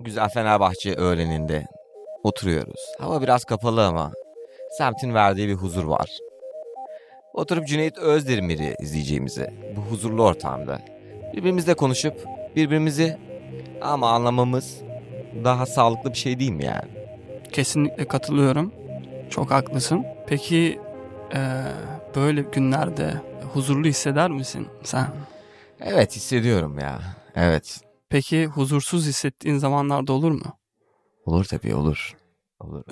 güzel Fenerbahçe öğleninde oturuyoruz. Hava biraz kapalı ama semtin verdiği bir huzur var. Oturup Cüneyt Özdemir'i izleyeceğimizi bu huzurlu ortamda birbirimizle konuşup birbirimizi ama anlamamız daha sağlıklı bir şey değil mi yani? Kesinlikle katılıyorum. Çok haklısın. Peki eee, böyle günlerde huzurlu hisseder misin sen? Evet hissediyorum ya. Evet. Peki huzursuz hissettiğin zamanlarda olur mu? Olur tabii olur. Olur.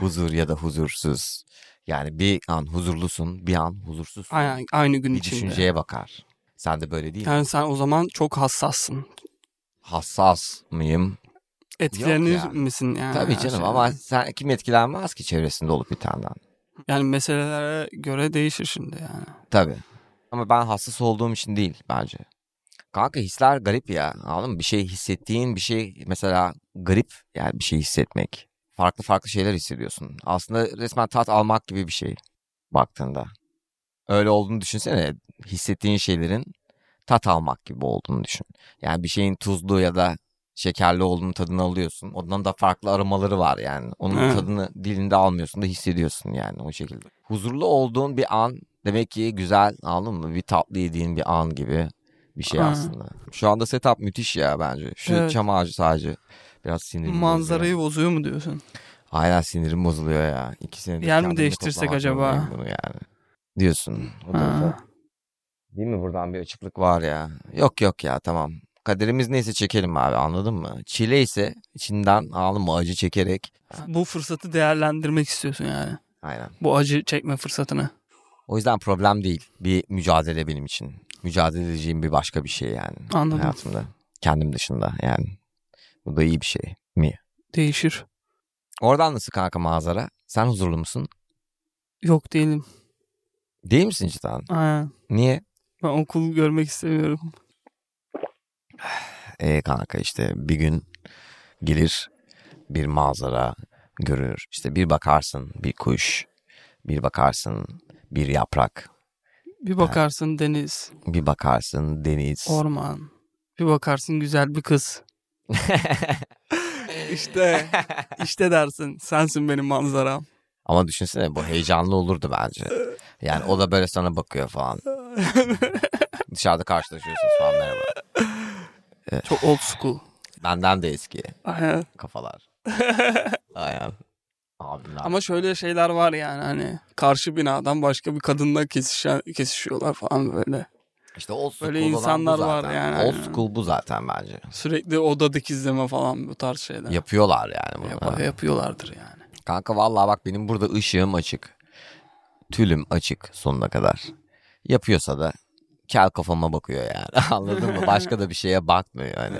huzur ya da huzursuz. Yani bir an huzurlusun, bir an huzursuzsun. Aynen aynı gün bir içinde. düşünceye bakar. Sen de böyle değil mi? Yani sen o zaman çok hassassın. Hassas mıyım? Etkilenir ya. misin yani? Tabii her canım şeyden? ama sen kim etkilenmez ki çevresinde olup bitenden. Yani meselelere göre değişir şimdi yani. Tabii. Ama ben hassas olduğum için değil bence. Kanka hisler garip ya. Anladın mı? Bir şey hissettiğin bir şey mesela garip yani bir şey hissetmek. Farklı farklı şeyler hissediyorsun. Aslında resmen tat almak gibi bir şey baktığında. Öyle olduğunu düşünsene. Hissettiğin şeylerin tat almak gibi olduğunu düşün. Yani bir şeyin tuzlu ya da şekerli olduğunu tadını alıyorsun. Ondan da farklı aromaları var yani. Onun Evet. tadını dilinde almıyorsun da hissediyorsun yani o şekilde. Huzurlu olduğun bir an demek ki güzel anladın mı? Bir tatlı yediğin bir an gibi bir şey Ha. aslında. Şu anda setup müthiş ya bence. Şu Evet. çam ağacı sadece biraz sinirim bozuyor. Manzarayı bozuyor mu diyorsun? Hala sinirim bozuluyor ya. İki senedir Yer mi kendimle değiştirsek toplamak acaba? zorundayım Bunu yani. Diyorsun. O da Ha. güzel. Değil mi buradan bir açıklık var ya. Yok yok ya tamam. Kaderimiz neyse çekelim abi anladın mı? Çile ise içinden anladın mı acı çekerek. Bu fırsatı değerlendirmek istiyorsun yani. Aynen. Bu acı çekme fırsatını. O yüzden problem değil. Bir mücadele benim için. Mücadele edeceğim bir başka bir şey yani. Anladım. Hayatımda. Kendim dışında yani. Bu da iyi bir şey mi? Değişir. Oradan nasıl kanka manzara? Sen huzurlu musun? Yok değilim. Değil misin cidden? Aynen. Niye? Ben okul görmek istemiyorum. E kanka işte bir gün gelir bir manzara görür. İşte bir bakarsın bir kuş, bir bakarsın bir yaprak, Bir bakarsın deniz, bir bakarsın deniz. orman. Bir bakarsın güzel bir kız. işte, işte dersin. Sensin benim manzaram. Ama düşünsene bu heyecanlı olurdu bence. Yani o da böyle sana bakıyor falan. Dışarıda karşılaşıyorsunuz falan merhaba. Çok old school. Benden de eski Aynen. kafalar. Aynen. Abimler. Ama şöyle şeyler var yani hani karşı binadan başka bir kadınla kesişen, kesişiyorlar falan böyle. işte old school böyle olan bu insanlar var zaten. yani. Old school bu zaten bence. Sürekli oda dikizleme falan bu tarz şeyler. Yapıyorlar yani bunu. Yap- yapıyorlardır yani. Kanka vallahi bak benim burada ışığım açık. Tülüm açık sonuna kadar. Yapıyorsa da kel kafama bakıyor yani. Anladın mı? Başka da bir şeye bakmıyor hani.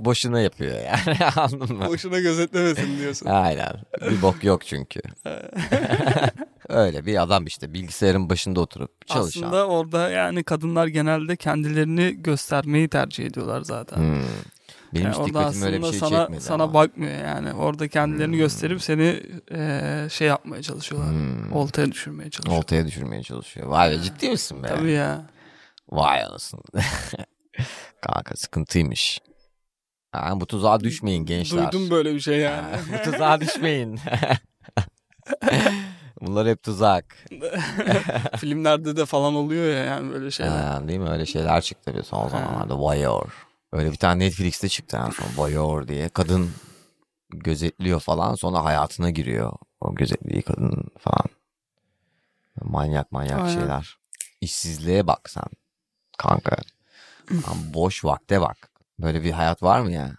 Boşuna yapıyor yani. Anladın mı? Boşuna gözetlemesin diyorsun. Aynen. Bir bok yok çünkü. Öyle bir adam işte bilgisayarın başında oturup çalışan. Aslında orada yani kadınlar genelde kendilerini göstermeyi tercih ediyorlar zaten. Hmm. Benim Yani hiç orada dikkatim öyle bir aslında şey E, sana, çekmedi sana ama. Hmm. bakmıyor yani. Orada kendilerini gösterip seni e, şey yapmaya çalışıyorlar. Hmm. Oltaya düşürmeye çalışıyorlar. Oltaya düşürmeye çalışıyor. Vay be ciddi misin be? Tabii ya. Vay anasını. Kanka sıkıntıymış. Ha, bu tuzağa düşmeyin gençler. Duydum böyle bir şey yani. Ha, bu tuzağa düşmeyin. Bunlar hep tuzak. Filmlerde de falan oluyor ya yani böyle şeyler. Ha, değil mi? Öyle şeyler çıktı bir son zamanlarda. Voyeur. Öyle bir tane Netflix'te çıktı en son. Voyeur diye. Kadın gözetliyor falan. Sonra hayatına giriyor. O gözetliği kadın falan. Manyak manyak Aynen. şeyler. İşsizliğe bak sen. Kanka. Lan boş vakte bak. Böyle bir hayat var mı ya?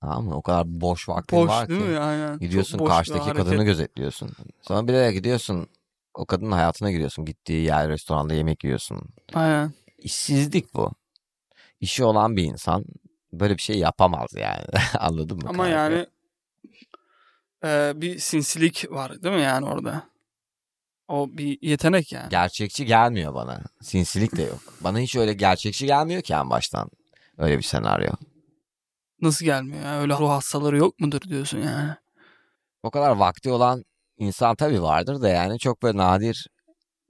Tamam mı? O kadar boş vaktin var ki. boş değil mi? Aynen. Gidiyorsun Çok boş bir karşıdaki hareket. kadını gözetliyorsun. Sonra bir de gidiyorsun o kadının hayatına giriyorsun. Gittiği yer restoranda yemek yiyorsun. Aynen. İşsizlik bu. İşi olan bir insan böyle bir şey yapamaz yani. Anladın mı? Ama kanka? yani e, bir sinsilik var değil mi yani orada? O bir yetenek yani. Gerçekçi gelmiyor bana. Sinsilik de yok. Bana hiç öyle gerçekçi gelmiyor ki en baştan. Öyle bir senaryo. Nasıl gelmiyor ya? Öyle ruh hastaları yok mudur diyorsun yani. O kadar vakti olan insan tabii vardır da yani çok böyle nadir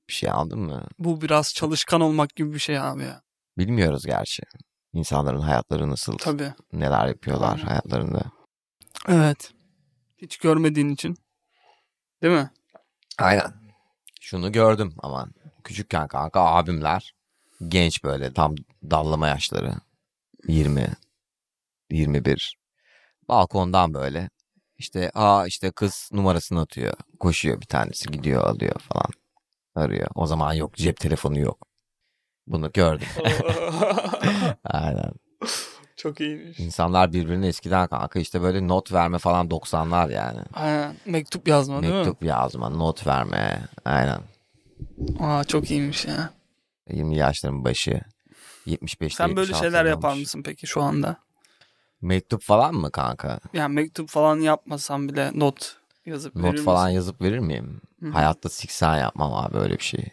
bir şey anladın mı? Bu biraz çalışkan olmak gibi bir şey abi ya. Bilmiyoruz gerçi. İnsanların hayatları nasıl, Tabii. neler yapıyorlar Aynen. hayatlarında. Evet. Hiç görmediğin için. Değil mi? Aynen. Şunu gördüm aman. Küçükken kanka abimler genç böyle tam dallama yaşları. 20, 21. Balkondan böyle işte aa işte kız numarasını atıyor. Koşuyor bir tanesi gidiyor alıyor falan. Arıyor. O zaman yok cep telefonu yok. Bunu gördüm. Aynen. Çok iyiymiş. İnsanlar birbirine eskiden kanka işte böyle not verme falan 90'lar yani. Aynen. Mektup yazma değil Mektup yazma, not verme. Aynen. mi? Aa çok iyiymiş ya. 20 yaşların başı. 75 Sen böyle şeyler yapar mısın peki şu anda? Mektup falan mı kanka? Yani mektup falan yapmasam bile not yazıp verir Not misin? falan yazıp verir miyim? Hı. Hayatta siksen yapmam abi öyle bir şey.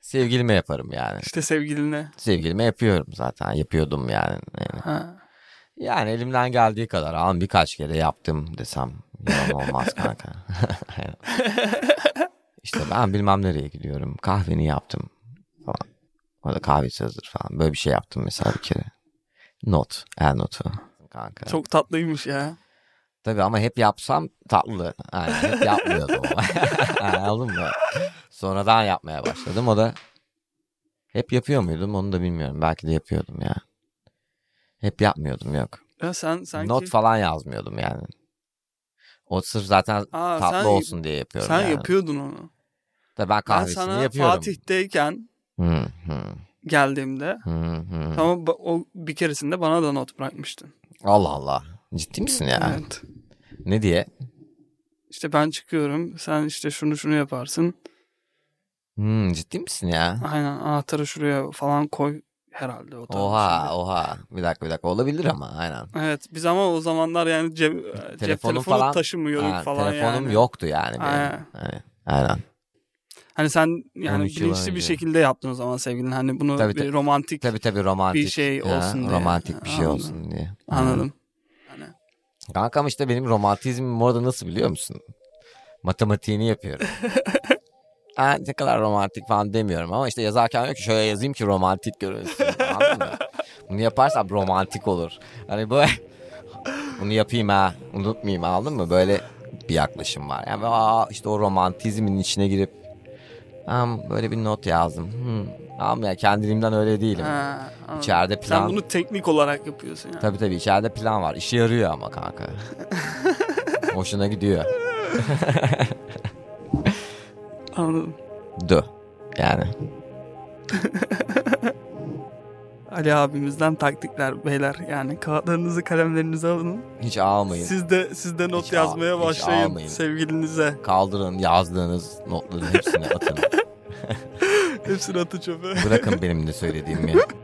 Sevgilime yaparım yani. İşte sevgiline. Sevgilime yapıyorum zaten. Yapıyordum yani. Yani, Ha. yani elimden geldiği kadar an birkaç kere yaptım desem yalan olmaz kanka. Aynen. işte ben bilmem nereye gidiyorum. Kahveni yaptım falan. Orada kahve hazır falan. Böyle bir şey yaptım mesela bir kere. Not. El notu. Kanka. Çok tatlıymış ya. Tabii ama hep yapsam tatlı. Aynen, hep yapmıyordum ama. Aynen, Anladın mı? Sonradan yapmaya başladım. O da hep yapıyor muydum onu da bilmiyorum. Belki de yapıyordum ya. Hep yapmıyordum yok. Ya sen sanki Not falan yazmıyordum yani. O sırf zaten Aa, tatlı sen- olsun diye yapıyorum sen yani. yapıyordun onu. Tabii ben Ben kahvesini sana yapıyorum. Fatih'teyken Hı, hı, geldiğimde hı, hı. ama ba- o bir keresinde bana da not bırakmıştın. Allah Allah. Ciddi misin ya? Evet. Ne diye? İşte ben çıkıyorum. Sen işte şunu şunu yaparsın. Hmm, ciddi misin ya? Aynen anahtarı şuraya falan koy herhalde o tarz bir şeydi. Oha oha. Bir dakika bir dakika. Olabilir ama aynen. Evet biz ama o zamanlar yani cep, cep telefonu falan- taşımıyorduk Ha, falan telefonum yani. yoktu yani benim. Aynen. Aynen. Aynen. Hani sen yani 12 yıl bilinçli bir önce. şekilde yaptın o zaman sevgilin. Hani bunu Tabii, bir tabii. romantik Tabii tabii romantik. Bir şey olsun diye. Romantik bir şey Anladım. olsun diye. anladım. Hı. Kankam işte benim romantizmim orada nasıl biliyor musun? Matematiğini yapıyorum. Ha, ne kadar romantik falan demiyorum ama işte yazarken yok ki şöyle yazayım ki romantik görünsün. Anladın mı? Bunu yaparsam romantik olur. Hani böyle bunu yapayım ha unutmayayım anladın mı? Böyle bir yaklaşım var. Yani aa, işte o romantizmin içine girip am böyle bir not yazdım. Hmm. Ama ya kendiliğimden öyle değilim. Ha, anladım. İçeride plan. Sen bunu teknik olarak yapıyorsun yani. Tabii tabii içeride plan var. İşe yarıyor ama kanka. Hoşuna gidiyor. Anladım. Dö. Yani. Ali abimizden taktikler beyler. Yani kağıtlarınızı kalemlerinizi alın. Hiç almayın. Siz de siz de not Hiç al- yazmaya hiç başlayın almayın. sevgilinize. Kaldırın yazdığınız notların hepsini atın. Hepsini atı çöpe. Bırakın benim ne söylediğimi.